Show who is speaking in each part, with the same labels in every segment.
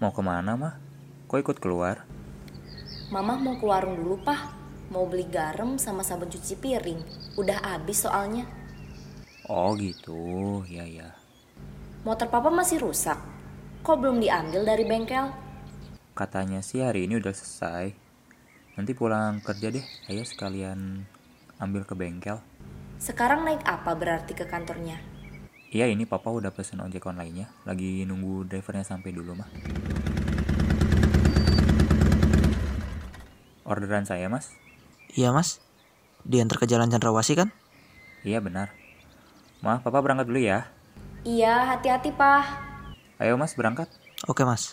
Speaker 1: Mau kemana mah? Kok ikut keluar?
Speaker 2: Mama mau ke warung dulu, Pah. Mau beli garam sama sabun cuci piring. Udah habis soalnya.
Speaker 1: Oh gitu, ya ya.
Speaker 2: Motor papa masih rusak. Kok belum diambil dari bengkel?
Speaker 1: Katanya sih hari ini udah selesai. Nanti pulang kerja deh, ayo sekalian ambil ke bengkel.
Speaker 2: Sekarang naik apa berarti ke kantornya?
Speaker 1: Iya ini papa udah pesen ojek online-nya, lagi nunggu drivernya sampai dulu mah. Orderan saya mas?
Speaker 3: Iya mas, diantar ke Jalan Chandrawasih kan?
Speaker 1: Iya benar. Ma, papa berangkat dulu ya.
Speaker 2: Iya, hati-hati, Pah.
Speaker 1: Ayo mas berangkat.
Speaker 3: Oke mas.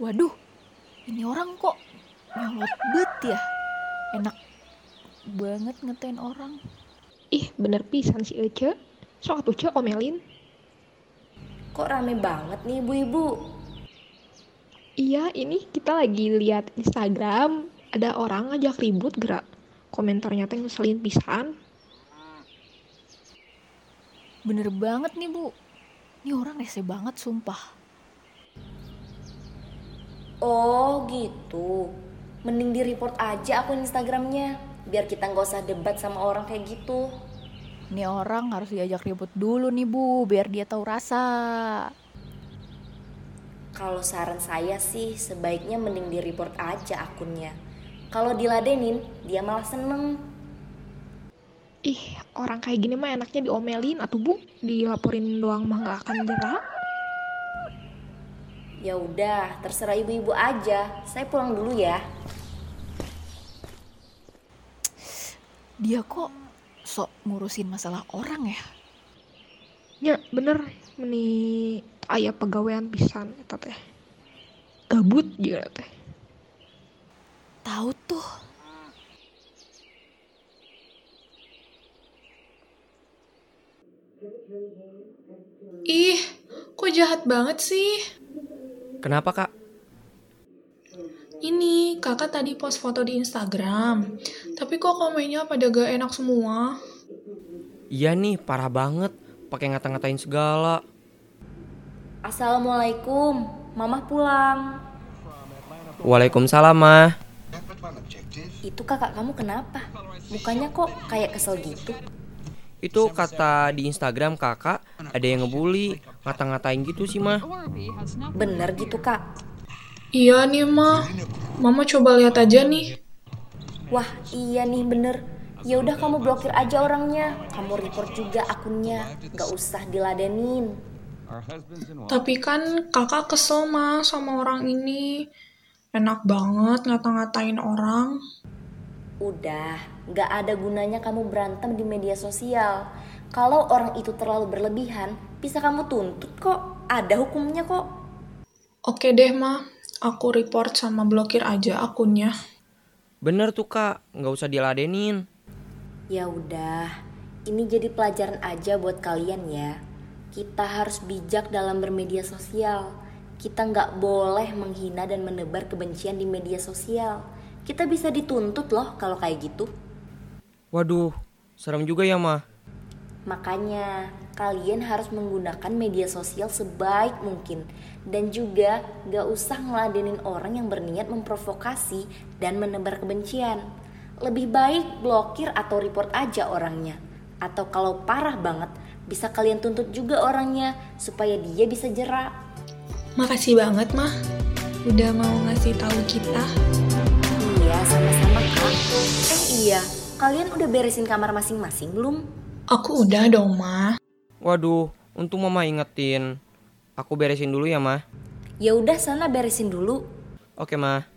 Speaker 4: Waduh, ini orang kok nyolot bet ya? Enak banget ngetain orang.
Speaker 5: Ih, bener pisan si Ece. Sok atuh Cek omelin.
Speaker 2: Kok rame banget nih ibu-ibu?
Speaker 5: Iya, ini kita lagi lihat Instagram. Ada orang ngajak ribut gerak. Komentarnya teh ngeselin pisan.
Speaker 4: Bener banget nih bu. Ini orang rese banget sumpah.
Speaker 2: Oh, gitu. Mending di-report aja akun Instagramnya. Biar kita nggak usah debat sama orang kayak gitu.
Speaker 4: Ini orang harus diajak ribut dulu nih bu, biar dia tahu rasa.
Speaker 2: Kalau saran saya sih, sebaiknya mending di-report aja akunnya. Kalau diladenin, dia malah seneng.
Speaker 5: Ih, orang kayak gini mah enaknya diomelin atau bu, dilaporin doang mah nggak akan jerak.
Speaker 2: Ya udah, terserah ibu-ibu aja. Saya pulang dulu ya.
Speaker 4: Dia kok sok ngurusin masalah orang ya?
Speaker 5: Ya, bener. Meni ayah pegawaian pisan eta teh. Gabut juga teh.
Speaker 4: Tahu tuh.
Speaker 6: Ih, kok jahat banget sih?
Speaker 7: Kenapa kak?
Speaker 6: Ini, kakak tadi post foto di Instagram. Tapi kok komennya pada gak enak semua?
Speaker 7: Iya nih parah banget. Pakai ngata-ngatain segala.
Speaker 2: Assalamualaikum, mama pulang.
Speaker 7: Waalaikumsalam mah.
Speaker 2: Itu kakak kamu kenapa? Mukanya kok kayak kesel gitu?
Speaker 7: Itu kata di Instagram kakak ada yang ngebully, ngata-ngatain gitu sih mah.
Speaker 2: Bener gitu kak?
Speaker 6: Iya nih, Ma. Mama coba lihat aja nih.
Speaker 2: Wah iya nih bener. Ya udah kamu blokir aja orangnya. Kamu report juga akunnya. Gak usah diladenin.
Speaker 6: Tapi kan kakak kesel, Ma, sama orang ini. Enak banget ngata-ngatain orang.
Speaker 2: Udah, gak ada gunanya kamu berantem di media sosial. Kalau orang itu terlalu berlebihan, bisa kamu tuntut kok. Ada hukumnya kok.
Speaker 6: Oke deh, Ma. Aku report sama blokir aja akunnya.
Speaker 7: Bener tuh kak, nggak usah diladenin.
Speaker 2: Ya udah, ini jadi pelajaran aja buat kalian ya. Kita harus bijak dalam bermedia sosial. Kita nggak boleh menghina dan menebar kebencian di media sosial. Kita bisa dituntut loh kalau kayak gitu.
Speaker 7: Waduh, serem juga ya mah.
Speaker 2: Makanya, kalian harus menggunakan media sosial sebaik mungkin dan juga gak usah ngeladenin orang yang berniat memprovokasi dan menebar kebencian. Lebih baik blokir atau report aja orangnya. Atau kalau parah banget, bisa kalian tuntut juga orangnya supaya dia bisa jerak.
Speaker 6: Makasih banget, Ma. Udah mau ngasih tahu kita.
Speaker 2: Iya, sama-sama Kak. Eh iya, kalian udah beresin kamar masing-masing belum?
Speaker 6: Aku udah dong, Ma.
Speaker 7: Waduh, untung mama ingetin. Aku beresin dulu ya mah.
Speaker 2: Ya udah sana beresin dulu.
Speaker 7: Oke mah.